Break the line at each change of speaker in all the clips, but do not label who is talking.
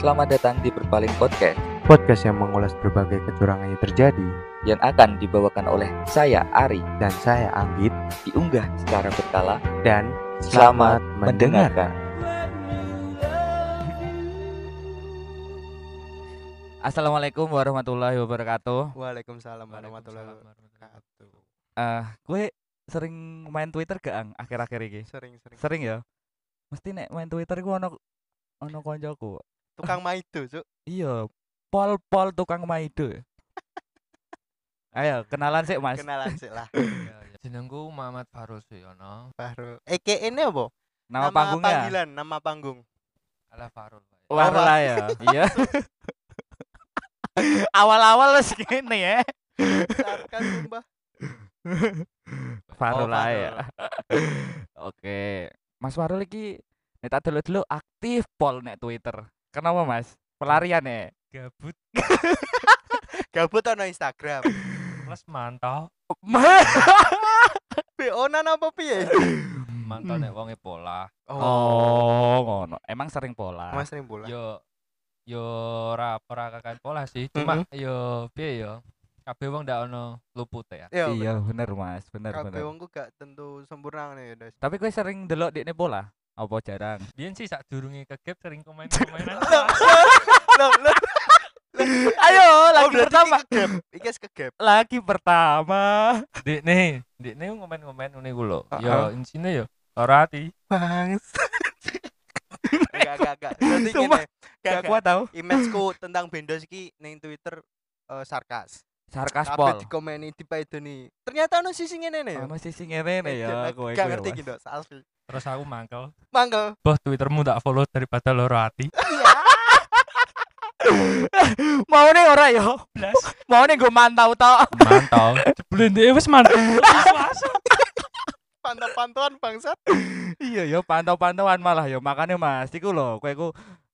Selamat datang di Berpaling Podcast
podcast yang mengulas berbagai kecurangan yang terjadi
yang akan dibawakan oleh saya Ari
dan saya Anggit
diunggah secara berkala.
dan
Selamat, mendengarkan. Assalamualaikum warahmatullahi wabarakatuh.
Waalaikumsalam warahmatullahi
Waalaikumsalam warahmatullahi
wabarakatuh.
Eh, gue sering main Twitter gak ang akhir-akhir ini?
Sering-sering
Sering ya. Mesti nek main Twitter gue ono ono koncoku.
tukang maido, Cuk.
Iya, pol-pol tukang maido. Ayo kenalan sih Mas.
Kenalan sih lah
Iya,
wabarakatuh. Jenengku Muhammad Farul Suyono.
baru. EKE ini apa?
Nama, panggungnya.
panggilan, nama panggung.
Ala Farul. Pak.
Wah
Apa?
lah ya. Iya. Awal-awal segini ya.
Sarkas sumpah.
Farul
Oh,
lah
Farul.
ya. Oke. Mas Farul iki nek tak dulu-dulu aktif pol nek Twitter. Kenapa Mas? Pelarian ya.
Gabut
Gabut ono Instagram.
plus mantau.
BO nan apa piye?
Mantau
Hmm.
nek wonge pola.
oh, ngono. Emang sering pola.
Mas sering bola.
Yo yo ora ora kakan pola sih. Cuma
Mm-hmm.
yo piye yo. Kabeh wong ndak ono luput ya.
Iya,
iya bener Mas, bener
kabeh
bener.
wongku gak tentu sempurna ngene ya, Des.
Tapi gue sering delok dekne pola. Apa jarang?
Biyen sih sadurunge kegep sering komen-komenan.
Loh, loh,
Ayo,
oh,
lagi
berarti
pertama.
iki kegep. Iki wis kegep.
Lagi pertama.
Dikne, dikne komen-komen ngene ku lho.
Heeh.
Yo insine yo ora ati.
Bang. Enggak, enggak, enggak. Berarti
Sumpah,
ngene.
Gak
Gak
kuat tau.
imageku tentang Bendos iki ning Twitter eh, sarkas.
Sarkaspol.
Kabeh dikomeni dipaidoni. Ternyata ono sisi ngene ne.
Ono sisi ngene
Eh,
nih ya
jan-
kowe.
Gak
kowe,
ngerti
Mas.
iki Dos, asli.
Terus aku mangkel.
Mangkel.
Boh Twittermu tak follow daripada loro ati.
Mau nih ora yo. Mau nih gue mantau tok.
Mantau. Jebule ndek wis mantau.
Pantau-pantauan bangsat.
Iya yo pantau-pantauan malah yo makanya Mas iku lho kowe ku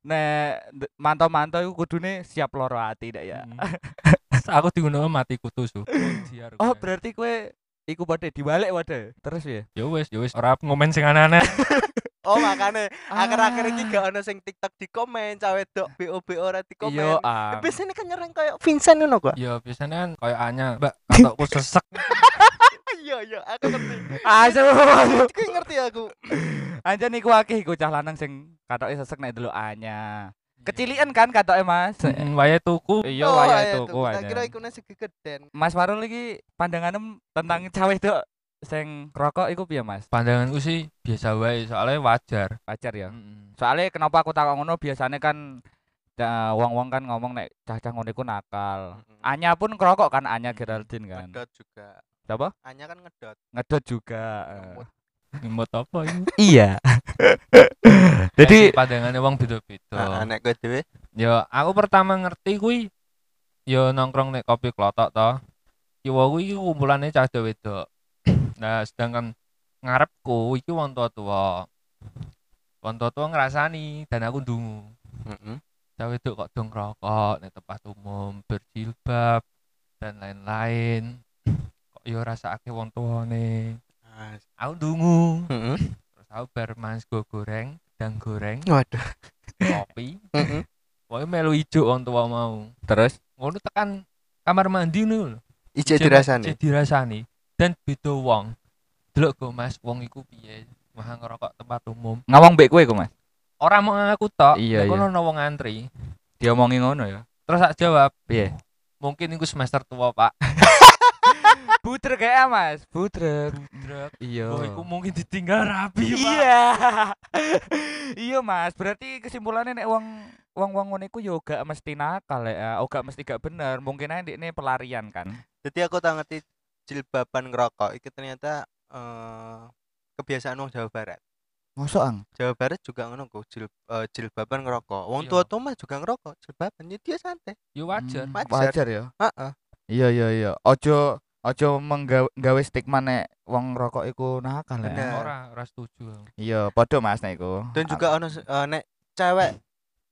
nek d- mantau-mantau iku kudune siap loro ati ndak
Hmm,
ya.
Mm. Hmm. aku digunakan mati kutu su. Siar
Oh
gue.
berarti kowe iku padhe dibalik wadah. Terus ya.
Ya wis, ya wis ora ngomen sing aneh-aneh.
Oh, makane akhir-akhir iki gak ono sing TikTok dikomen, cawe dok BO-BO ora
Iya
dikomen.
ah.
Biasanya kan nyerang kayak Vincent ngono kok.
ya biasanya kan koyo anya, Mbak, katokku sesek.
Iya, iya, aku ngerti.
Asu.
Aku ngerti aku.
Anjen iku akeh iku cah lanang sing katoke sesek nek delok anyar. Kecilian kan katoke Mas.
Mm, Wayahe tuku.
Iya
Hmm. Oh,
wayahe
iya,
tuku
Tak kira
anjen.
iku nang segi geden.
Mas Farul iki pandanganem tentang cawe dok sing rokok iku piye Mas?
Pandanganku sih biasa wae, soalnya wajar.
Pacar ya.
Mm.
soalnya kenapa aku takon ngono biasanya kan da- wong-wong kan ngomong nek cah-cah ngono iku
Hmm.
nakal. Anya pun ngerokok kan Anya
Mm,
Geraldine kan.
Ngedot juga.
Apa?
Anya kan ngedot.
Ngedot juga. eh.
Ngemut.
Ngemot apa iki?
iya. Jadi
Jadi pandangane wong
Nah,
Oh.
beda-beda.
nek kowe dhewe
Ya aku pertama ngerti kuwi ya nongkrong nek kopi klotok to. Kiwa kuwi iki kumpulane cah wedok. Nah, sedangkan ngarepku iki wong tua-tua. Wong tua-tua ngrasani dan aku ndungu. cah wedok kok dong rokok di tempat umum berjilbab dan lain-lain kok yo rasa ake wong tuane
Nah,
aku dungu terus aku bar mas go goreng dan goreng
Waduh.
kopi pokoknya melu ijo wong tua mau
terus
ngono tekan kamar mandi nih lho
Ije dirasani.
Ijek dirasani dan beda wong delok go mas wong iku piye mah ngerokok tempat umum
ngomong baik kowe iku Mas.
orang mau ngaku tok
Iya,
nek
iya.
kono ana wong antri
Diomongi ngono ya.
terus tak jawab
Piye?
mungkin iku semester tua pak
Budrek ya Mas, budrek.
Drek.
Iya.
Oh, iku mungkin ditinggal rapi, Pak.
Iya. iya Mas, berarti kesimpulannya nek wong wong-wong ngono iku yo gak mesti nakal ya, oh gak mesti gak bener. Mungkin aja ini pelarian kan.
Jadi aku tak ngerti jilbaban ngerokok iki ternyata eh, kebiasaan wong Jawa Barat.
Mosok ang.
Jawa Barat juga ngono kok jil, eh, jilbaban ngerokok. Wong
Iya.
tua-tua mah juga ngerokok, jilbaban ya dia santai.
Ya wajar.
Hmm,
wajar.
wajar ya
Heeh.
iya iya iya ojo ojo menggawe stigma nek wong rokok iku nakal
Bener.
ya
Ora, ora setuju. aku.
iya podo mas nek iku
Dan juga ono se- eh, nek cewek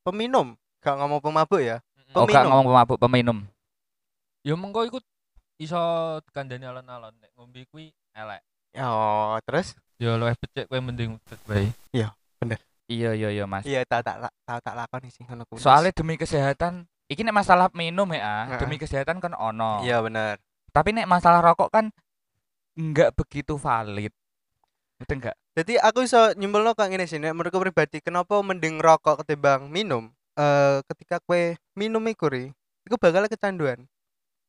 peminum, gak ngomong pemabuk ya.
oh
peminum.
gak ngomong pemabuk peminum
Ya mengko iku iso kandhani alon-alon nek ngombe kuwi elek.
Oh, terus
Ya luwih becik kowe mending udet wae.
iya iya iya mas
iya tak tak tak tak bakal tak lakoni sih ngono kuwi.
Soalnya demi kesehatan, iki nek masalah minum ya, ah,
Heeh.
demi kesehatan kan ono.
iya bener.
Tapi nek masalah rokok kan enggak begitu valid. Itu enggak?
Jadi aku iso nyimpulno kok ngene sih nek menurutku pribadi kenapa mending rokok ketimbang minum? Eh ketika kue minum iku ri, iku bakal kecanduan.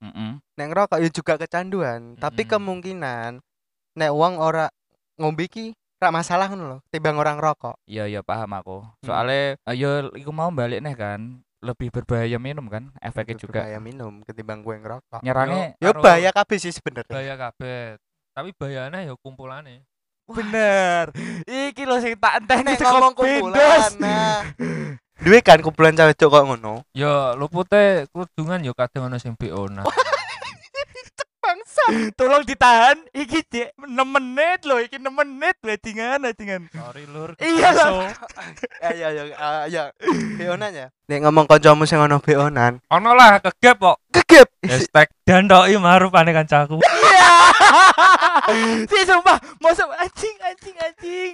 Mm-mm.
Nek ngerokok ya juga kecanduan, tapi
Mm-mm.
kemungkinan nek wong ora ngombe iki ra masalah ngono lho, timbang orang rokok.
Iya iya paham aku. Soalnya eh, ya iku mau balik nih kan, lebih berbahaya minum kan, efeknya
Lebih
juga.
bahaya minum ketimbang kue ngerokok.
Nyerangnya
Ya
Karo-
bahaya kabeh sih sebenarnya.
bahaya kabeh. Tapi bahayane ya kumpulane.
bener. Iki lho sing tak enteni
Nek
saka
ngomong kumpulan.
Windows.
Nah. Duwe kan kumpulan cewek cok kok ngono.
Ya lupute kerudungan ya kadang ana sing BO nah.
Bangsa.
Tolong ditahan. Iki Cek, 6 menit lho, iki 6 menit bajingan bajingan.
Sorry lur.
Iya lah.
So,
Ayo ayo ayo. Beonan ya. Nek ngomong kancamu sing ono beonan,
Ono lah kegep kok.
kegep. Isi-
Hashtag dandoki marupane kancaku.
Iya. Si sumpah, mosok anjing anjing anjing.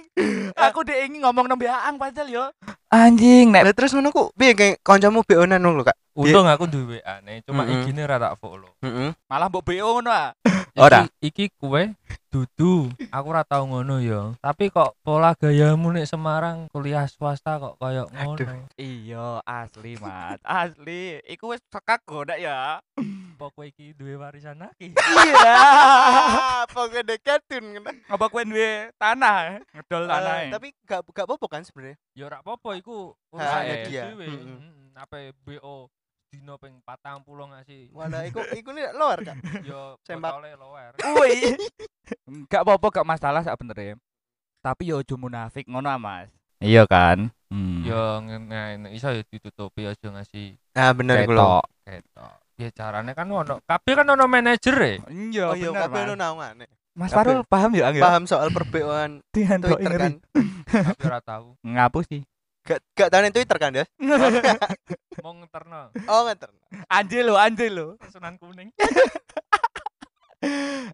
Aku dek ingin ngomong nang Aang padahal yo. Anjing, nek
Lah terus ngono ku piye kayak kancamu beonan ngono lho, Kak?
Untung aku duwe ane, cuma
Mm-mm.
igine ra tak follow.
Heeh.
malah mbok BO ngono ah.
Ora.
Iki, iki kue dudu. Aku ora tau ngono ya. Tapi kok pola gayamu nek Semarang kuliah swasta kok koyo ngono.
Aduh.
Iya, asli, Mas. Asli. Iku wis kakak godak ya.
Apa kowe iki duwe warisan lagi?
Iya.
Pokoke dekatun ngono.
Apa kowe duwe tanah? Ngedol tanah. e.
Eh, Tapi gak gak apa-apa kan sebenarnya.
Ya ora apa-apa iku
Haknya
urusane
dia. Hmm,
dhewe.
Mm-mm.
Mm-mm. Apa BO dino ping 40 ngasih.
Walah iku iku nih luar, Kak.
Yo
Sembak.
botole lower.
Woi. Enggak apa-apa, gak masalah sak bener e. Tapi yo ojo munafik ngono ah, Mas. Iya kan? Hmm.
Yo ngene iso ya ditutupi aja ngasih
Nah, bener iku lho.
Ketok.
ketok. Ya carane kan ono kabeh kan ono manajer e.
Iya,
Oh iya,
bener,
kabeh lu
Mas.
naungane.
Mas
kabeh.
Farul paham ya, Angga?
Paham soal perbeoan Twitter kan.
Tapi ora tau.
Ngapus sih.
Gak gak tau nih Twitter kan ya?
Mau ngeterno
Oh, ngenter.
Anjir lo, anjir lo.
sunan kuning.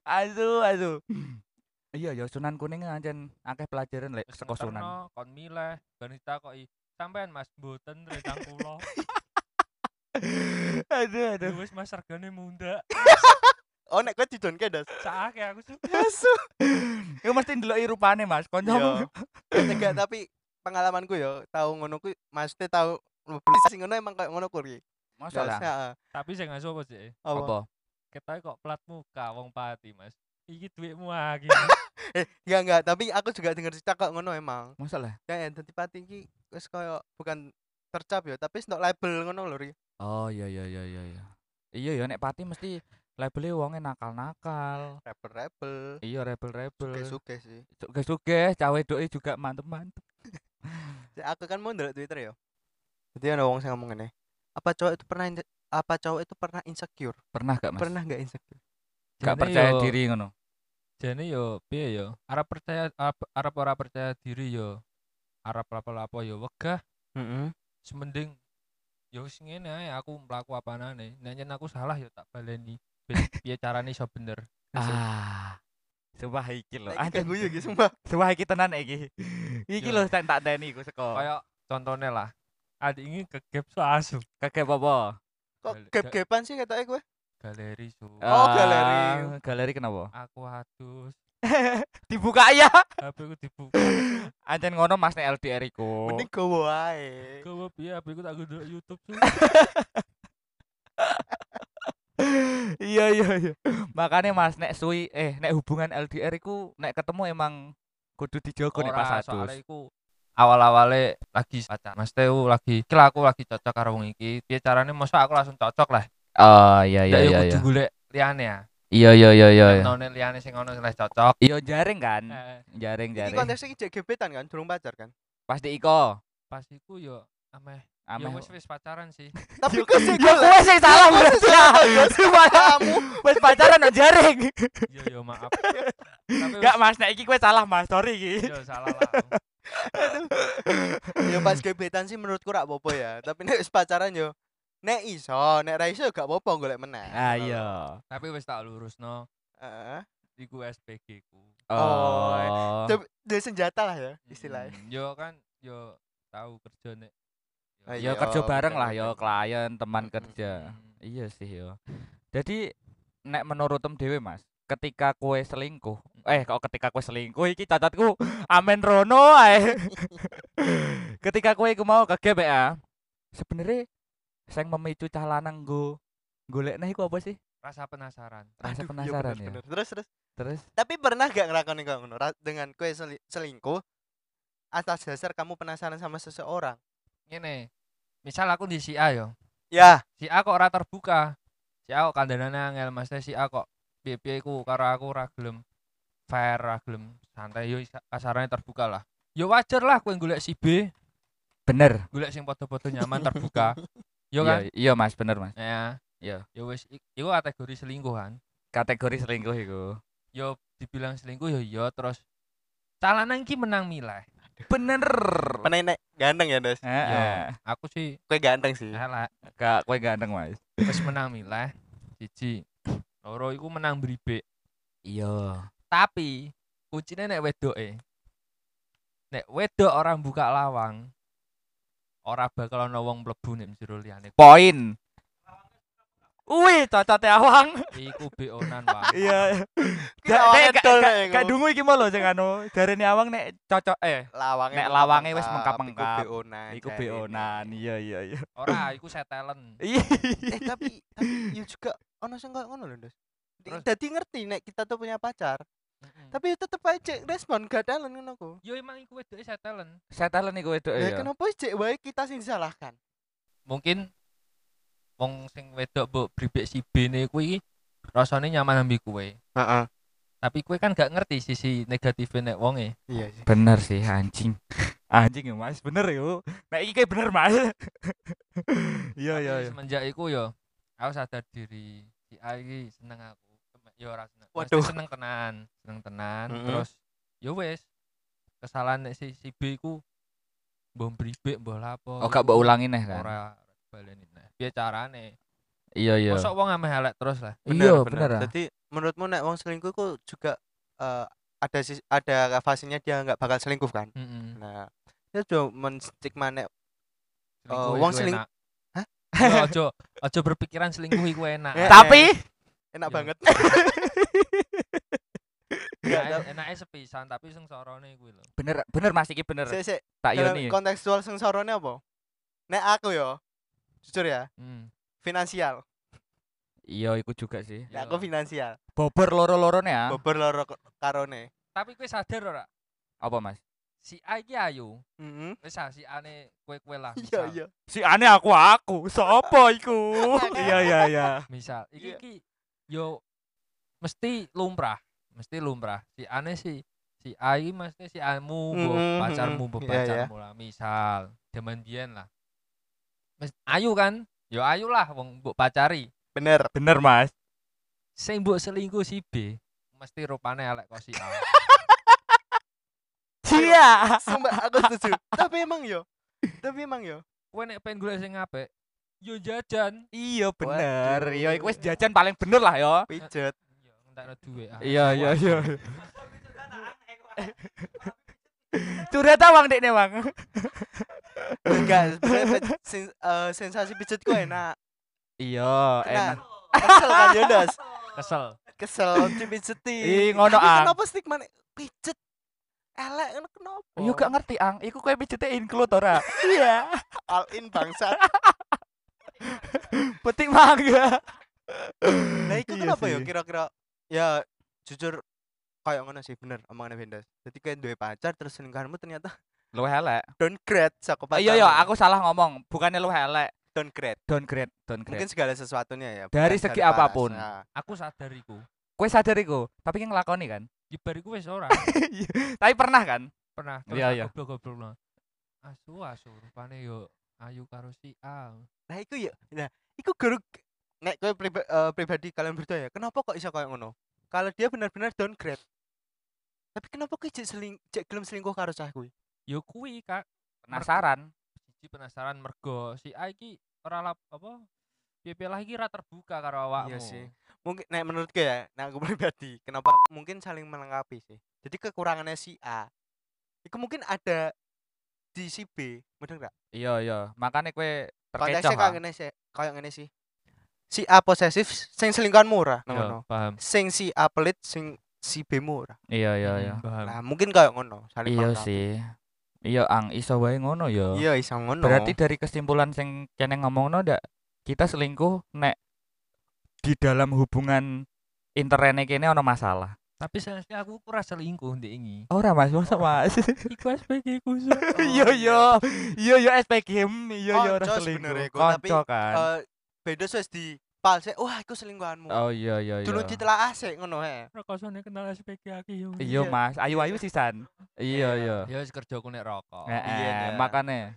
Aduh, aduh. Iya ya Sunan Kuning ancen akeh pelajaran lek
Wis
saka Sunan.
ngeterno, kon milih ben ditakoki sampean Mas boten retang kula.
aduh, aduh.
Ya wis Mas regane munda.
Oh, nek kowe didonke das.
Saake aku sih.
Asu.
Iku mesti ndeloki rupane, Mas.
Yo.
Kancamu.
Enggak, tapi pengalamanku ya tahu ngono ku maksudnya tahu sing ngono emang kayak ngono ku iki.
Masalah.
Tapi sing ngaso apa sih?
Apa?
Apa?
Ketoke kok plat muka wong pati, Mas. Iki duitmu lagi.
Eh, enggak enggak, tapi aku juga denger cerita kok ngono emang.
Masalah.
Ya identity pati iki wis koyo bukan tercap ya, tapi stok label ngono lho ri.
Oh, iya iya iya iya iya. Iya ya nek pati mesti labelnya wonge nakal-nakal.
Rebel rebel.
Iya
Oke,
rebel-rebel.
suke sih.
Suge-suge, cawe doi juga mantep-mantep.
Ya, Aku kan mau ndelok Twitter ya. Jadi ada wong sing ngomong ngene. Apa cowok itu pernah inse- apa cowok itu pernah insecure?
Pernah gak, Mas?
Pernah enggak insecure?
Gak
Jane
percaya
yo-
diri ngono.
Jane yo piye yo? Arab percaya Arab, Arab ora percaya diri yo. Arab apa-apa yo wegah
Heeh.
semending yo wis ngene ae aku mlaku apanane nek yen aku salah yo tak baleni Ben, piye carane iso bener
Ah. Sumpah iki lho.
Anjir
Ancen
guyu iki sumpah.
Sumpah iki tenan iki. Iki
Yo.
lho tak tak teni iku saka.
kaya contone lah adik ini kegep so asu
Kagak apa-apa.
Kok
Balik-
gep-gepan sih ketoke kowe?
galeri su
Oh, galeri.
Ah, Galeri kenapa?
aku adus
Dibuka ya.
HP ku dibuka
Anjen ngono Mas nek LDR iku.
Mending gowo ae.
kowe piye HP ku tak gondok YouTube su
Iya iya iya. Makane Mas nek sui eh nek hubungan LDR iku nek ketemu emang kudu dijogo nek pas
soalnya
adus.
iku awal-awale lagi pacar Mas Teu lagi iki lah aku lagi cocok karo wong iki piye carane masa aku langsung cocok lah
Oh iya
ya yo kudu golek liyane ya
Iya iya iya iya. Hmm.
none liyane sing ono sing cocok
Iya jaring kan.
Eh,
Jaring
Iki
jaring.
konteksnya iki jek gebetan kan, durung pacar kan.
Pasti iko.
pas iku yo ameh
Ameh.
yo wis wis pacaran sih
Tapi
Yo-
kok sing
Yo kowe sing salah
Yo, kowe sing
berarti.
salah,
ya. Sumpah,
kamu
Wis pacaran nang jaring.
yo yo maaf tapi
Enggak
wis-
Mas nek iki kowe salah Mas. Sorry iki.
yo salah lah
ya pas gebetan sih menurutku rak apa ya tapi nek wis pacaran yo nek iso nek ra iso gak apa-apa golek meneh
Ah iya.
tapi wis tak lurus no
heeh
iku SPG ku
Oh.
Hmm,
Coba- Duwe senjata lah ya istilahnya
Mm, yo kan yo tahu kerja nek
Ya kerja bareng lah ya
bener-bener.
klien, teman
Oh, Mm-mm.
kerja.
Hmm.
Iya sih yo. Jadi nek menurut tem dhewe Mas, ketika kue selingkuh, eh kok ketika kue selingkuh iki catatku amen rono ae. ketika kue iku mau ke GBA, sebenarnya sing memicu cah lanang nggo golekne iku apa sih?
rasa penasaran
Rasa
Aduh, iya
penasaran ya.
bener-bener. Terus terus.
Terus
Tapi pernah gak ngelakoni kamu ngono? Ra- dengan kue seli- selingkuh atas dasar kamu penasaran sama seseorang?
ngene misal aku di si A yo
Ya,
si A kok ora terbuka si A kok kandhane angel maksudnya si A kok piye-piye iku karo aku ora gelem fair ora gelem santai yo isa- kasarannya terbuka lah yo wajar lah kowe golek si B
bener.
golek sing padha-padha nyaman terbuka yo kan
Iya, iya Mas, bener Mas.
ya
Iya.
yo wis i- iku kategori selingkuhan
Kategori selingkuh iku.
yo dibilang selingkuh yo yo terus calanan ki menang milih
Bener. Iya.
penenek ganteng ya, Des.
Heeh.
aku sih
Kue ganteng sih.
ala
Gak kue ganteng Mas.
wis menang milih siji loro iku menang bribek
Iya.
tapi kuncinya nek wedoke nek wedok orang buka lawang ora bakal ana wong mlebu nek jero liyane
Poin. Wih, cocote awang.
iku beonan wae
Iya.
Kira
Gak
awangnya
nek gak-
dol
gak-
nek iku.
gak dungu iki mau lho sing anu. Jarene awang nek cocok eh
Lawangnya
Nek lawangnya wis
mengkap-mengkap,
mengkap-mengkap.
Iku beonan.
iku
jahine.
beonan. Iya iya iya.
ora iku setelen
Eh, tapi tapi ya juga ono sing koyo ngono lho, Des.
Terus?
Dadi ngerti nek kita tuh punya pacar, tapi ya tetep aja cek respon gak dalan ngono ku.
yo emang iku wedoke setelen
Setelen iku wedok
Ya
ya.
kenapa sih cek wae kita sing disalahkan?
mungkin wong sing wedok mbok bribek si B ne kuwi rasane nyaman ambi kuwe
Heeh.
tapi kue kan gak ngerti sisi negatifnya nek wonge
Iya sih.
Bener sih anjing. Anjing ya Mas, bener yo. Nek iki kayak bener Mas. Iya iya
Tapi
iya.
semenjak iku yo aku sadar diri si A iki seneng aku Cuma- yo ora seneng Maksudnya
Waduh.
seneng tenan seneng tenan
Mm-mm.
terus yo wes kesalahan nek si, si B ku mbok bribek mbok lapo
Oh gak mbok ulangi neh kan.
ora ora baleni nah piye carane
Iya iya.
mosok wong ameh elek terus lah
Iya bener. ah.
Jadi menurutmu nek wong selingkuh ku juga eh, ada sis- ada fasenya dia nggak bakal selingkuh kan?
heeh
Hmm.
Nah, dia juga menstigma nek Oh, wong seling- Hah?
ojo ojo berpikiran selingkuh iku enak
Eh,
Ah. Tapi
enak
Iya.
banget.
Iya,
Nggak,
Enake-
tapi-
enake sepisan tapi sengsarane kuwi lho
bener bener Mas iki bener.
Sik sik,
Tak
dalam
yoni. iya.
kontekstual sengsarane apa? Nek aku yo jujur ya,
Hmm.
finansial.
Iya iku juga sih.
Iya.
Nek aku finansial.
Bobor loro-lorone ah. ya.
Bobor loro ko- karone.
tapi kue sadar ora
Apa Mas?
si A iki ayu
Heeh.
wis ah, si A ne kue-kue
Ah,
lah
Mm-hmm. Iya
misal.
iya.
Si aneh aku aku, sopo iku? Iya iya iya.
misal iki
Iya.
iki yo mesti lumrah mesti lumrah si ane si si ai mesti si amu bu
Mm, mm,
pacarmu
mm.
bu
Iya,
pacarmu lah misal demen biyen lah Mes- ayu kan yo ayu lah wong mbok pacari
Bener.
Bener Mas.
sing mbok selingkuh si B mesti rupane elek kok si A
Cia.
Sumpah aku setuju. Tapi emang yo. Tapi emang yo.
kowe nek pengen golek sing apik yo jajan
Iya bener.
Waduh.
Iya iku wis jajan paling bener lah yo.
Pijet.
yo ngentekno duwe ah.
iya. Curhat awang dek nih bang.
Enggak, sebenarnya pe- sen- eh, sensasi pijet ku enak.
Iya
Enak.
enak.
Kesel kan Yondas?
kesel
Kesel dipijeti.
Ih, ngono, ah.
Tapi
Ang.
Kenapa stigma nek pijet? Elek ngono kenapa?
Yo gak ngerti ang. Iku kayak pijetnya include ora. Iya.
all in bangsat.
Petik mangga.
Nah, itu
Iya
kenapa ya
sih.
kira-kira? Ya jujur kayak ngono sih bener omongannya Bendas. Jadi kayak duwe pacar terus selingkuhanmu ternyata
Lu elek.
downgrade saka pacarmu.
Iya iya aku salah ngomong. Bukannya lu elek.
downgrade.
Downgrade. Downgrade.
Mungkin segala sesuatunya ya.
Dari
bukan
segi
paras.
apapun.
Nah,
aku sadar iku
Kue sadar iku. Tapi yang ngelakoni kan.
jibar iku wis ora
Tapi pernah kan.
pernah
Iya, iya.
goblok-goblok lah asu asu rupane yo ayu karo si A
Nah, itu ya. Nah, itu guru nek kowe priba- eh, pribadi kalian berdua ya. Kenapa kok iso kayak ngono? Kalau dia benar-benar downgrade. Tapi kenapa kowe cek seling cek gelem selingkuh karo cah kuwi?
yo kuwi kak
Penasaran.
siji penasaran mergo si A iki ora lap apa piye lah iki ora terbuka karo awakmu
sih. Mungkin nek menurut gue ya, nek aku pribadi, kenapa mungkin saling melengkapi sih. Jadi kekurangannya si A. Itu mungkin ada di si B bener gak
iya iya makanya kowe
konteksnya
terkecoh
kayak
ah.
ngene sih kayak ngene sih si A posesif sing selingkuhan murah
Iya.
Yo,
ngono
paham
sing si A pelit sing si B murah
iya iya
Mm,
iya
paham
nah mungkin kayak ngono saling
iya
melengkapi.
sih iya ang iso wae ngono ya
iya iso ngono
berarti dari kesimpulan sing kene ngomongno ndak kita selingkuh nek di dalam hubungan internet kene ono masalah
tapi seharusnya aku kurang selingkuh di ini
ora mas masa
Oh,
mas
iku SPG khusus
iya iya iya iya SPG mm, iya iya ora
Konco
selingkuh
sebenarnya, Gu, tapi,
konco kan
Eh, beda wis di palse wah iku selingkuhanmu
oh iya iya iya
dulu ditelaah sih ngono he
rekosone kenal SPG aki yo
iya mas ayu-ayu sisan iya iya
ya wis kerja aku nek rokok
Oh, Iya,
heeh
dah.
makane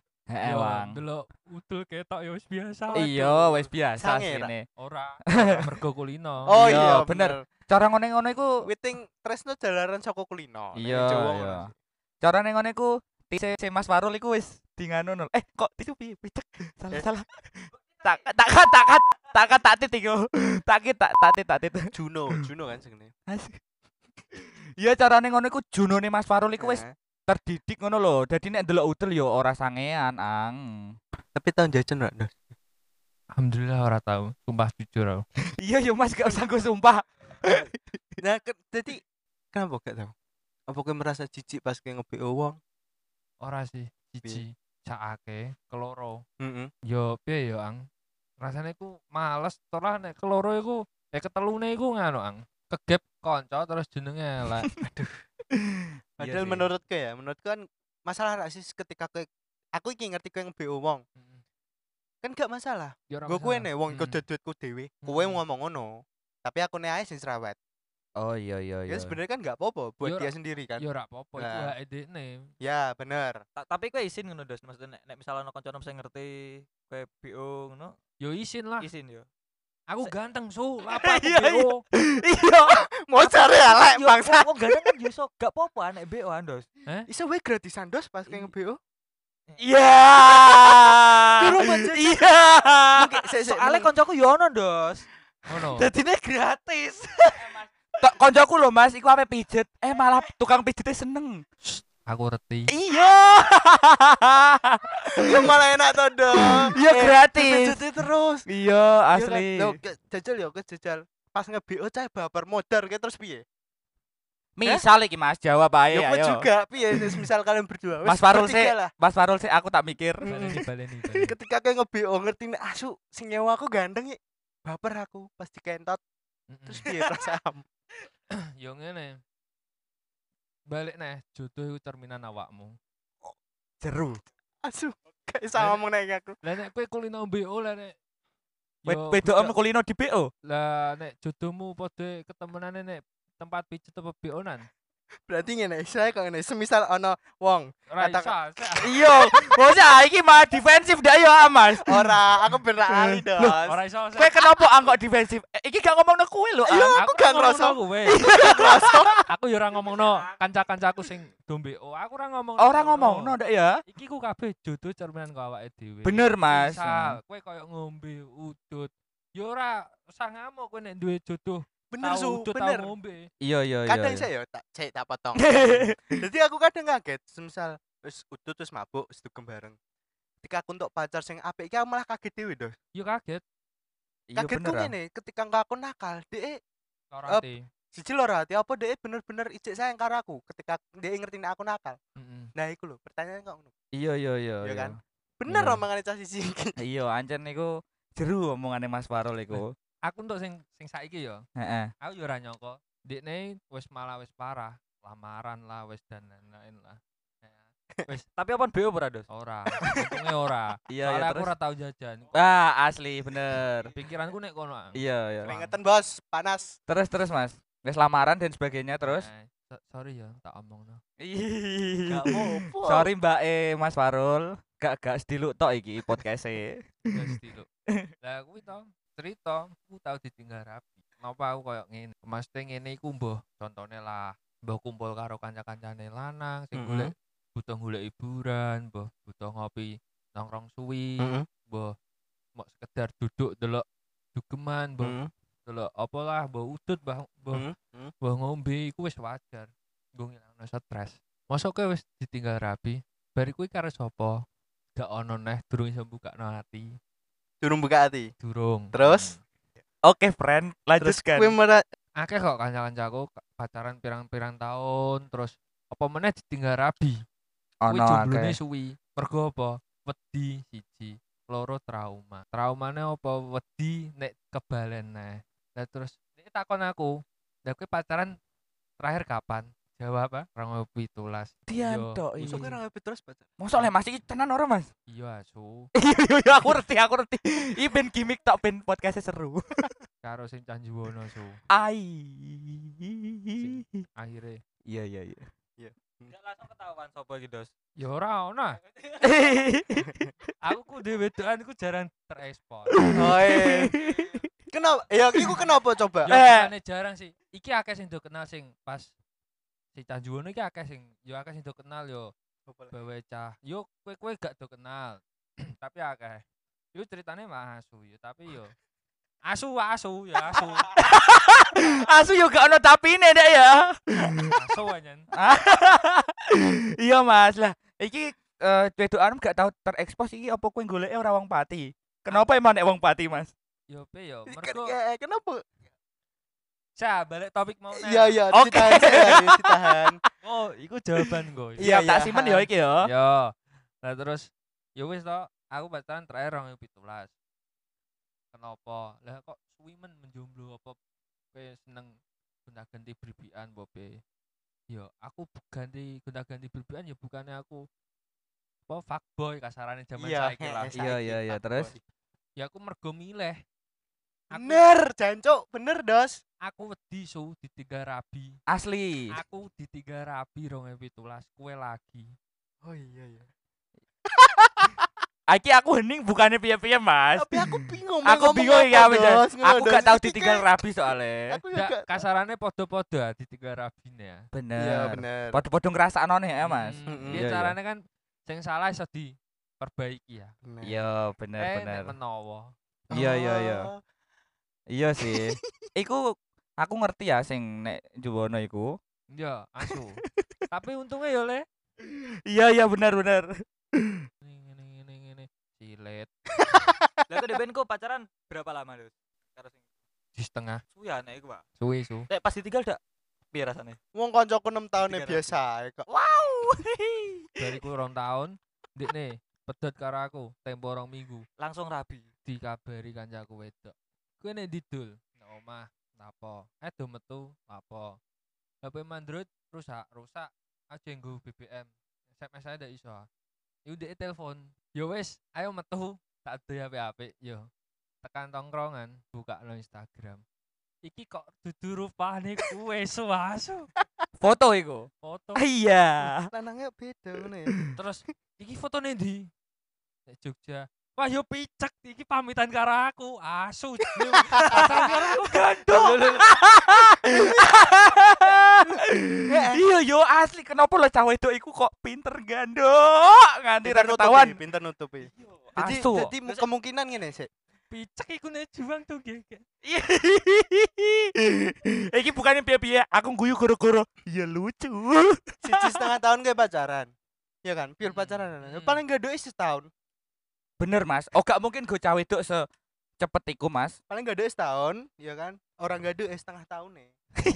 Yo,
heeh Eh, wang
delok udul ketok ya wis biasa wae.
iya wis biasa
Sange, Ra.
sini
ora ora mergo kulino
oh
Iya,
iya
bener.
bener
cara ngene-ngene iku
witing tresno jalaran saka kulino nek
Iya,
Jawa
iya.
ngono sih.
cara nengone ku tise si Mas Warul iku wis di nganu nol. Eh kok tisu pi picek. Salah
Eh.
salah. Tak tak tak tak tak tak tak tit iku. Tak ki- tak tak tit tak tit.
Juno Juno kan jenenge
Asik. Iya carane ngono iku junone Mas Farul iku wis
Nah,
terdidik ngono lho. Dadi nek ndelok udel yo ora sangean, Ang.
tapi tahun jajan rak Dos?
alhamdulillah ora tahu sumpah jujur aku
Iya yo Mas gak usah gue sumpah.
nah ke- jadi kenapa gak tau apa kowe merasa jijik pas kowe nge-BO wong
ora sih siji sakake keloro
heeh
yo
Iya
piye yo ang rasane ku males tolah nek keloro iku eh ketelune iku ngono ang kegep kanca terus jenenge elek sih.
padahal menurutku ya menurutku kan masalah rak sih ketika kowe aku iki ngerti kowe nge-BO wong kan gak masalah
yo ora
gue kowe
masalah.
nih wong iku
Mm.
Hmm.
duit-duitku dhewe kowe
Mm.
ngomong ngono tapi aku nih ae sing serawet
Oh iya iya
ya sebenarnya kan gak apa-apa
Yo,
buat dia
Ra.
sendiri kan
yo ora apa-apa iku
Nah.
hak dekne
ya bener
Ta- tapi kowe isin ngono Dos, maksudnya nek, nek misalnya ono kanca sing ngerti kowe BO ngono,
yo isin lah
isin yo.
aku
Se-
ganteng su apa aku
Iya, iya.
BO
Iya.
mau cari elek
Yo,
bangsa
Wong ganteng kan yo iso gak apa-apa nek BO an, Dos.
iso wae gratisan dos pas kowe nge-BO
Iya.
Durung pancen.
Iya.
Soale kancaku yo ono, Dos.
ngono
Jadinya gratis. Kok koncoku lho Mas, iku ape pijet. Eh malah tukang pijetnya seneng.
aku reti
Iya.
Ya malah enak to, Dok.
Iya
Eh,
gratis.
dipijeti terus.
Iya
Iya kan?
asli.
Lho, ke- jajal ya, ke jajal. Pas nge-BO cah baper modar kayak terus piye?
Misal iki Mas jawab ae
Ya aku
ayo.
juga piye Terus misal kalian berdua.
Eh, iya, Mas Farul
bertiga
sih.
lah.
Mas Farul sih aku tak mikir.
baleni baleni baleni.
Ketika kayak nge-BO ngerti nek asu sing nyewa aku gandeng ya. Baper aku pasti kentot
Mm-mm.
terus piye perasaan.
yo ngene balik nih jodoh itu cerminan awakmu
Jeru.
Asu kayak sama ngomong nek aku.
lah nek kowe kulino BO lah nek yo,
Wedok
budak-
kulino di BO.
lah nek jodohmu padha ketemenane nek tempat pijet apa BO-nan
Berarti ngene saya kok ngene semisal ono wong.
ora
Kata-
iso Sa.
Iya, bos ah, iki malah defensif dah yo ah, Mas.
Ora, aku bener ali
ora
dos.
iso Sa.
Kowe kenapa angkok defensif? Eh, Iki gak ngomong kowe lho. ah.
Iya,
Ang.
aku gak ngerasa.
kowe aku yo ora ngomongno kanca-kancaku sing dombe oh aku ora ngomong
Ora ngomong, no ndak ya?
iki ku kabeh jodoh cerminan kok awake dhewe
Bener, Mas.
misal kowe koyo ngombe udut yo ora usah ngamuk kowe nek duwe jodoh
Bener
tau
su,
udut tau
bener.
ngombe
Iya iya iya.
kadang
iya.
saya yo tak cek tak potong jadi aku kadang kaget semisal terus udut terus mabuk terus dugem bareng ketika aku untuk pacar sing apik iki aku malah kaget dhewe dos
yo kaget
Iya,
kagetku
bener, ah.
ngene ketika engko aku nakal dhek
ora
Up.
ati
siji loro ati apa dhek bener-bener ijek sayang karo aku ketika dhek ngerti nek aku nakal
Heeh.
nah iku lho pertanyaan kok ngono
Iya iya iya.
Iya
iya.
kan? bener
Iya.
omongane cah siji iki
Iya, ancen niku jeru omongane Mas Farul iku.
aku untuk sing sing saiki yo
Heeh.
aku yo ora nyangka ndekne wis malah wis parah lamaran lah wis dan lain-lain lah
Tapi apaan BO ora, Dos?
ora untunge ora
Iya iya
soalnya aku
terus.
ora tau jajan
Ah, asli bener.
pikiranku nek kono ah.
Iya iya.
keringetan bos panas
Terus terus Mas. Wis lamaran dan sebagainya terus.
Eh, so- sorry ya tak omong no
Ih.
mau
Sorry Mbak E, Mas Farul. Gak gak sediluk tok iki podcast e.
pasti lho lah aku tau cerita aku tau ditinggal rapi kenapa aku koyo ngene mesti ngene iku mbah contone lah mbah kumpul karo kanca-kancane lanang sing
Mhm.
golek butuh golek hiburan mbah butuh ngopi nongkrong suwi mbah mau sekedar duduk delok dugeman mbah delok apa lah mbah udut mbah mbah
Hmm?
mbah ngombe iku wis wajar mbah ngilangno stres masa kowe wis ditinggal rapi bar kuwi karo sapa? Gak ono neh durung iso mbukakno ati.
Durung buka hati.
Durung.
Terus
Oke, friend,
terus
lanjutkan.
kowe merasa
akeh kok kanca-kancaku k- pacaran pirang-pirang tahun terus apa meneh ditinggal rabi kuwi
Ono
jomblone
akeh.
suwi mergo apa wedi siji loro trauma traumane apa wedi nek kebalen nah lah terus nek takon aku lah kowe pacaran terakhir kapan jawab "Ah, apa 2017
Dian
Yo.
tok
Masuk
iki.
ke
orang happy terus pacar.
Mosok le Mas iki tenan ora, Mas?
iya asu
Iya, iya, iya, aku ngerti, aku ngerti. Iki ben gimmick tak ben podcastnya seru.
karo sing canjuwono su
Ai.
akhire
Iya, iya, iya.
Nggak langsung ketahuan sopo iki, Dos.
ya ora ono ah. aku kudu wedokan iku jarang terekspor
Oh, iya. Kenapa? Ya iku kenapa coba?
Yo
Eh.
bukannya jarang sih. Iki akeh sing do kenal sing pas si Tanjuwono iki akeh sing yo akeh sing do kenal yo bawa cah. Yo kowe-kowe gak do kenal. tapi akeh. Yo ceritane mah asu yo tapi yo asu asu ya asu.
Asu yo gak ono tapine Dek ya.
asu anyen.
Iya, Mas. Lah, iki eh wedokan gak tau terekspos iki apa kowe goleke ora wong pati? Kenapa emang nek wong pati, Mas?
Yo pe yo mergo
Ken- Kenapa?
cah balik topik mau neh.
Iya iya,
Oke.
ditahan saya, ditahan.
Oh, iku jawaban gue.
Iya,
Siap tak
iya.
simen yo iki yo.
Yo. Nah terus yo wis to, aku pacaran terakhir 2017. Kenapa? Lah kok suwi men menjomblo apa kowe seneng gonta-ganti berbian bobe. Yo, aku bu- ganti gonta-ganti berbian ya bukannya aku apa fuckboy kasarane zaman
Iya,
saiki lah.
heeh, Iya,
iya, iya, terus?
fuckboy. Ya aku mergo milih. Aku,
Bener, jancuk, bener, Dos.
aku wedi su di tiga rabi.
Asli.
Aku di tiga rabi 2017 kue lagi.
Oh iya iya.
Aki aku hening bukannya piye-piye, Mas.
Tapi aku bingung mau
Aku
ngomong
bingung
apa,
ya, Mas.
Dos. Ngono,
Aku
Dos.
gak tau
Iki
ditinggal
kayak-
rabi
Iya,
soalnya.
Aku ya
Ndak
gak
kasarane podo-podo di tiga rabine ya.
Iya
Bener.
bener.
Padha-padha ngrasakno nih ya, Mas.
Mm-mm.
Iya
Iya, iya.
caranya kan sing salah iso diperbaiki ya.
Hmm.
Bener.
Iya, bener,
Eh
bener.
nek menawa.
Iya, iya, iya.
Oh.
Iya sih. Iku aku ngerti ya sing nek Juwono iku.
Iya, asu. Tapi untungnya ya le.
Iya, iya bener, bener.
Ngene ngene ngene ngene. Silet
Lah itu DBN ku pacaran berapa lama, Dos? Karo sing
di setengah
suya nek iku, Pak.
suwe su.
Nek pas ditinggal dak piye rasane?
Wong koncoku 6 tahun
Tiga
biasa ae kok.
Wow.
Bariku rong tahun, ndekne pedot karo aku tempo rong minggu
Langsung rabi.
dikabari kancaku wedok. Kuwi nek didul nang omah napa? Eh do metu apa? HP mandrut rusak, rusak. Aja nggo BBM. SMS saya ndak iso. Yo ndek telepon. Yo wis, ayo metu. Tak do HP HP yo. Tekan tongkrongan, buka no Instagram. Iki kok dudu rupane kuwe suasu.
Foto iku.
Foto
Ah, Iya.
Lanangnya beda ngono ya.
terus iki fotone ndi? Nek Jogja. Wah yo picek iki pamitan karo aku. Asu. jeneng. Pacaran karo aku.
Iya yo asli kenapa lo cah wedok iku kok pinter gandok nganti ra
Pinter nutupi,
ketahuan. Iya.
pinter nutupi. Jadi,
Asu.
jadi mu- kemungkinan ngene sih.
Picek iku nek juang tuh gege.
Iki bukannya piye-piye, aku guyu goro-goro. Ya lucu.
Siji setengah tahun kayak pacaran. Ya kan, pure
Hmm.
pacaran.
Hmm.
Paling gak doa setahun.
Bener, Mas. Oh, gak mungkin gue cah wedok secepet iku, Mas.
Paling gak doa setahun, ya kan. Orang gak doa setengah tahun nih.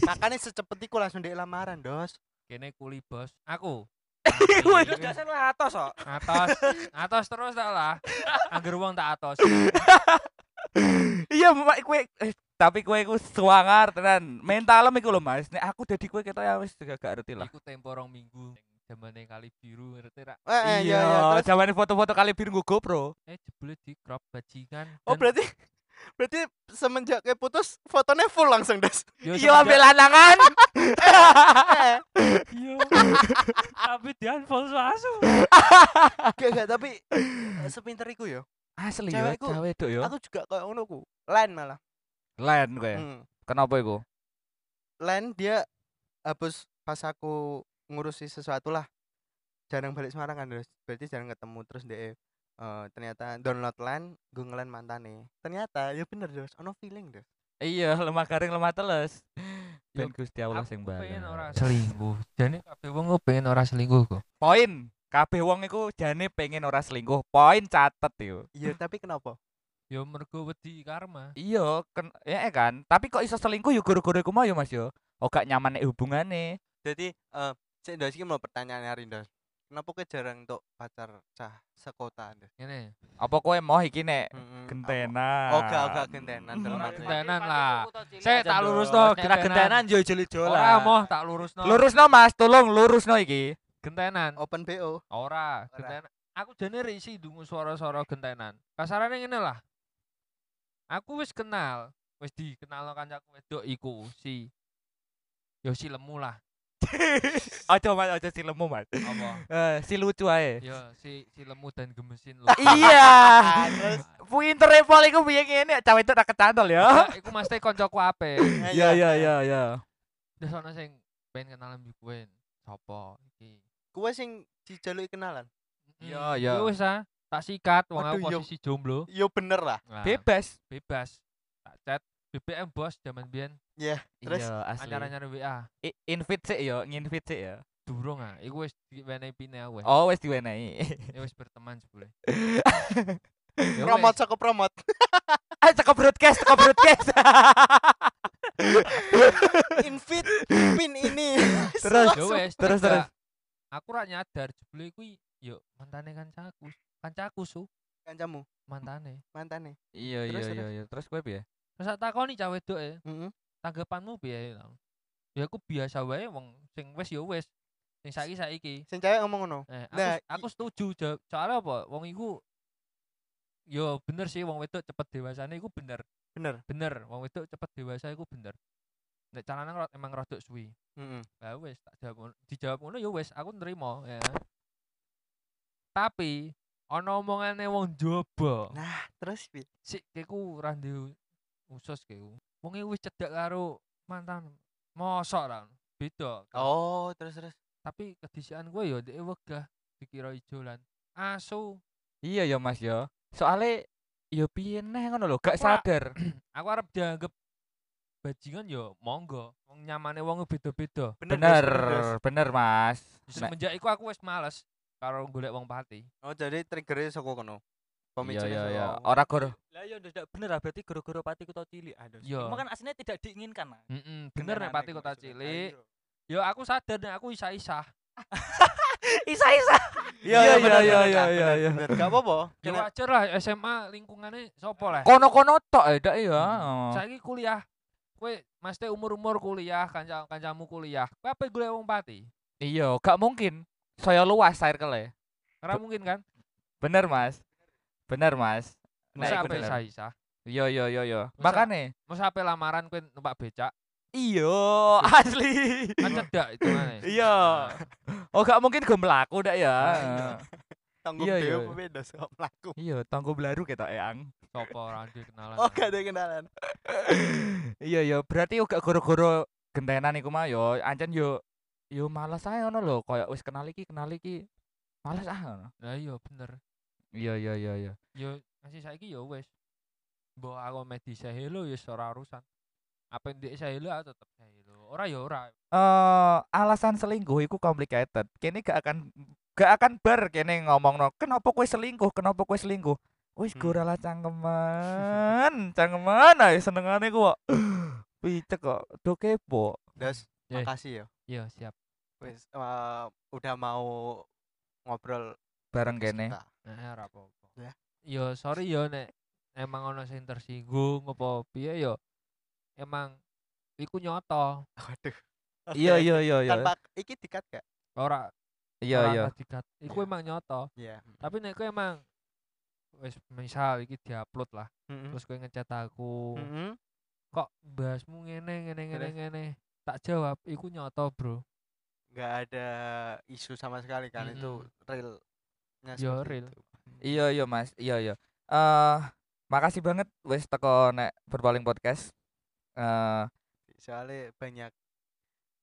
Makanya secepet iku langsung dek lamaran, Dos.
Kene kuli bos. Aku.
Wih.
Dos gak selu atos kok.
atos, atos terus tak lah. Angger wong tak atos.
iya mak kue eh, tapi kue ku suangar tenan mentalem iku lho mas nek aku dadi kue kita ya wis gak gak ngerti lah
Iku tempo rong minggu. Jamane kali biru ngerti ra?
Eh, eh, iya, iya. Terus-
zaman foto-foto kali biru gue GoPro
Eh jebule di crop bajingan.
Oh, berarti berarti semenjak kayak putus fotonya full langsung, Dos.
iya ambil lanangan
Tapi dia unfollow asu.
Gak gak tapi eh, sepinter iku yo.
asli yo
Cewekku-
cewek itu yo
Aku juga kayak ngono ku. Lain malah.
lain kue
Hmm.
kenapa iku
lain dia habis pas aku ngurusi sesuatu lah jarang balik Semarang kan terus berarti jarang ketemu terus dia eh, ternyata download line gue ngelain mantane ternyata ya bener terus ono feeling deh
iya lemah garing lemah teles
Yo,
ben Gusti Allah Oh, sing
Aku pengen ora
balas
selingkuh. Jane kabeh wong pengen ora selingkuh kok.
poin Kabeh wong iku jane pengen ora selingkuh. Poin catet yo.
Iya, tapi kenapa?
Yo mergo wedi karma.
Iya, ken ya kan. Tapi kok iso selingkuh yo guru-guru iku mau yo Mas yo. Oh gak nyaman nek hubungane.
Jadi eh cek ndos iki mau pertanyaan hari ndos. Kenapa kowe jarang untuk pacar cah sekota Eh, ndos?
Ngene.
Apa kowe mau iki nek
Heeh.
gentenan?
Oh, gak gak gentenan dalam
Ora
arti.
gentenan lah. Saya
Jan,
tak lurus
Dok.
toh,
Nek ra gentenan yo jeli-jolan.
Ora moh tak lurusno.
Lurusno Mas, tolong lurusno iki.
Gentenan.
Open BO.
Ora, gentenan. Aku jane risi dungu suara-suara gentenan. Kasarane ngene lah. Aku wis kenal, wis dikenal kancaku wedok iku si Yo si lemu lah
Aja Mas, aja si lemu Mas.
apa?
Eh, si lucu ae.
Yo si si lemu dan gemesin lu.
Iya.
terus
Pinter Paul iku piye ngene, cah itu tak kecantol ya.
Nah, Iku mesti koncoku ape.
Iya iya iya iya.
Terus ana sing pengen kenalan mbek kowe. Sopo iki?
Kuwe sing dijaluki kenalan.
Iya,
Mm,
iya.
Wis ah, tak sikat wong aku
Waduh, yo.
posisi jomblo.
Yo bener lah.
Nah,
Bebas.
bebas. Tak chat BBM bos zaman biyen
Terus,
iya, asli.
acara-acara WA.
I- invite sik ya, nginvite sik ya.
Durung ah, iku wis diwenehi pine aku wis.
Oh, wis diwenehi.
Ya wis berteman jebule. Ya wis.
Promote saka promote.
Ah, cekap broadcast, cekap broadcast.
Invite pin ini.
Terus,
Ya wis,
Terus, terus.
tiba. Aku ra nyadar jebule kuwi yo mantane kancaku. Kancaku su,
kancamu
mantane.
mantane.
Iya
Terus,
iya
terus.
iya iya. Terus kowe piye?
Terus tak takoni cah wedok e,
Heeh.
tanggapanmu piye? Ya aku biasa wae wong sing wis ya wis. Sing saiki saiki.
Sing cewek ngomong ngono.
Eh, aku,
Nah,
s- aku setuju jawab. Soalnya apa? Wong iku yo bener sih wong wedok cepet dewasane iku bener.
Bener.
Bener, wong wedok cepet dewasa iku bener. Nek carane emang rodok suwi.
Heeh.
Lah wis tak jawab ngono. Dijawab ngono ya wis, aku nerima ya. Tapi ana omongane wong jaba.
Nah, terus pi.
Sik iku ora nduwe usus kiku. Wong iku wis cedak karo mantan. Mosok ra. Beda.
Oh, terus terus.
Tapi kedisian gue yo dhek wegah dikira ijolan. Asu
Iya ya Mas ya. Soale ya piye neh ngono lho, gak
Ora.
sadar.
aku harap dianggap bajingan yo monggo wong nyamane wong beda-beda
Bener,
Dos, Dos.
bener Mas. Nek-
semenjak iku aku wis males karo golek wong pati
Oh, jadi triggernya saka kono.
Iya
Pemicunya
iya
saka
iya.
kono.
Ora gor.
Lah yo ndak bener ah berarti guru-guru pati kota cilik. Aduh.
Yo.
Cuma kan aslinya tidak diinginkan. Mas.
Mm-mm, bener
Beneran
nek pati
iku
kota
maksudnya.
cilik
Ayo.
yo aku sadar nek aku isa-isa
Isa-isa. Iya
iya,
iya
bener, bener,
iya iya
Kak,
iya iya.
Bener, gak apa-apa.
yo
Gila.
wajar lah SMA lingkungannya sopo lah
Kono-kono tok ya dak ya.
Hmm. saiki kuliah kowe mesti umur-umur kuliah kanca kancamu kuliah kowe apa golek wong pati
Iya, gak mungkin. Saya luas circle-e.
ora
Be-
mungkin kan
Bener Mas. Bener Mas.
masa
Nek Nah, iku
apa
bener.
isa-isa
Iya iya iya iya.
Masa-
Makane.
masa apa lamaran kowe numpak becak
Iya, asli.
kan cedak itu kan
Iya. Oh gak mungkin gue melaku dak ya.
Tanggung
Iya,
dewe
iya,
apa
iya.
beda sama melaku.
Iya, tanggo blaru ketok eh, eang.
sopo ora duwe kenalan
Oh, gak ada kenalan.
Iya iya, berarti yo gak goro-goro gentenan iku mah yo ancen yo yo males ae ngono lho, koyo wis kenal iki, kenal iki. Males ah ngono.
lah iya bener
Iya iya iya iya.
yo masih saiki yo wis mbok aku medi sahelo yo ora urusan apa ndek sahelo aku tetep sahelo ora yo ora
Eh alasan selingkuh iku complicated. Kene gak akan gak akan bar kene ngomongno kenapa kowe selingkuh, kenapa kowe selingkuh. Wis
Hmm.
gue rela cangkeman, cangkeman ae senengane ku kok. Picek kok, do kepo.
Das,
Eh.
Iya.
makasih ya.
yo siap
Wis eh, udah mau ngobrol
Bareng
terus
kene.
kita.
nah ora apa-apa
Ya.
yo sorry yo nek emang ono sing tersinggung apa piye yo emang iku nyoto
Waduh.
Iya
Oke.
iya iya iya.
Tanpa iki dikat gak?
ora
Iya
ora
iya.
entah dikat iku emang nyoto
Iya.
tapi nek kowe emang wis misal iki diupload lah Hmm.
Heeh.
Hmm.
terus kowe ngechat aku
Heeh.
kok bahasmu ngene ngene ngene
Terus?
ngene tak jawab iku nyoto bro
Gak ada isu sama sekali kan itu real.
Yo, real.
Iya iya Mas, iya iya. Eh makasih banget wis teko nek berpaling podcast. Eh
Soalnya banyak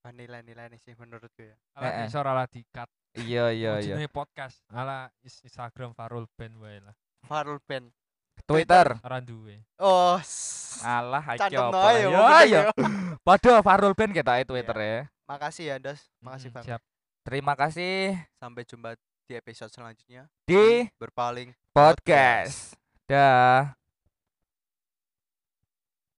ah, nilai-nilai nih sih menurut gue ya.
Eh,
Ala
eh.
iso ora dikat.
iya iya
Iya,
iya.
podcast. Ala is- Instagram Farul Ben wae lah.
Farul Band.
Twitter.
Ora duwe.
Oh. s-
Ah,
Alah iki
Cantem noe
apa lah.
ya,
Yo
mau
yo.
bener ya.
Padha Farul Ben ketoke Twitter ya.
Makasih ya, Das. Makasih
Mm,
banget.
Siap.
Terima kasih.
Sampai jumpa di episode selanjutnya
di
berpaling
podcast. Dah.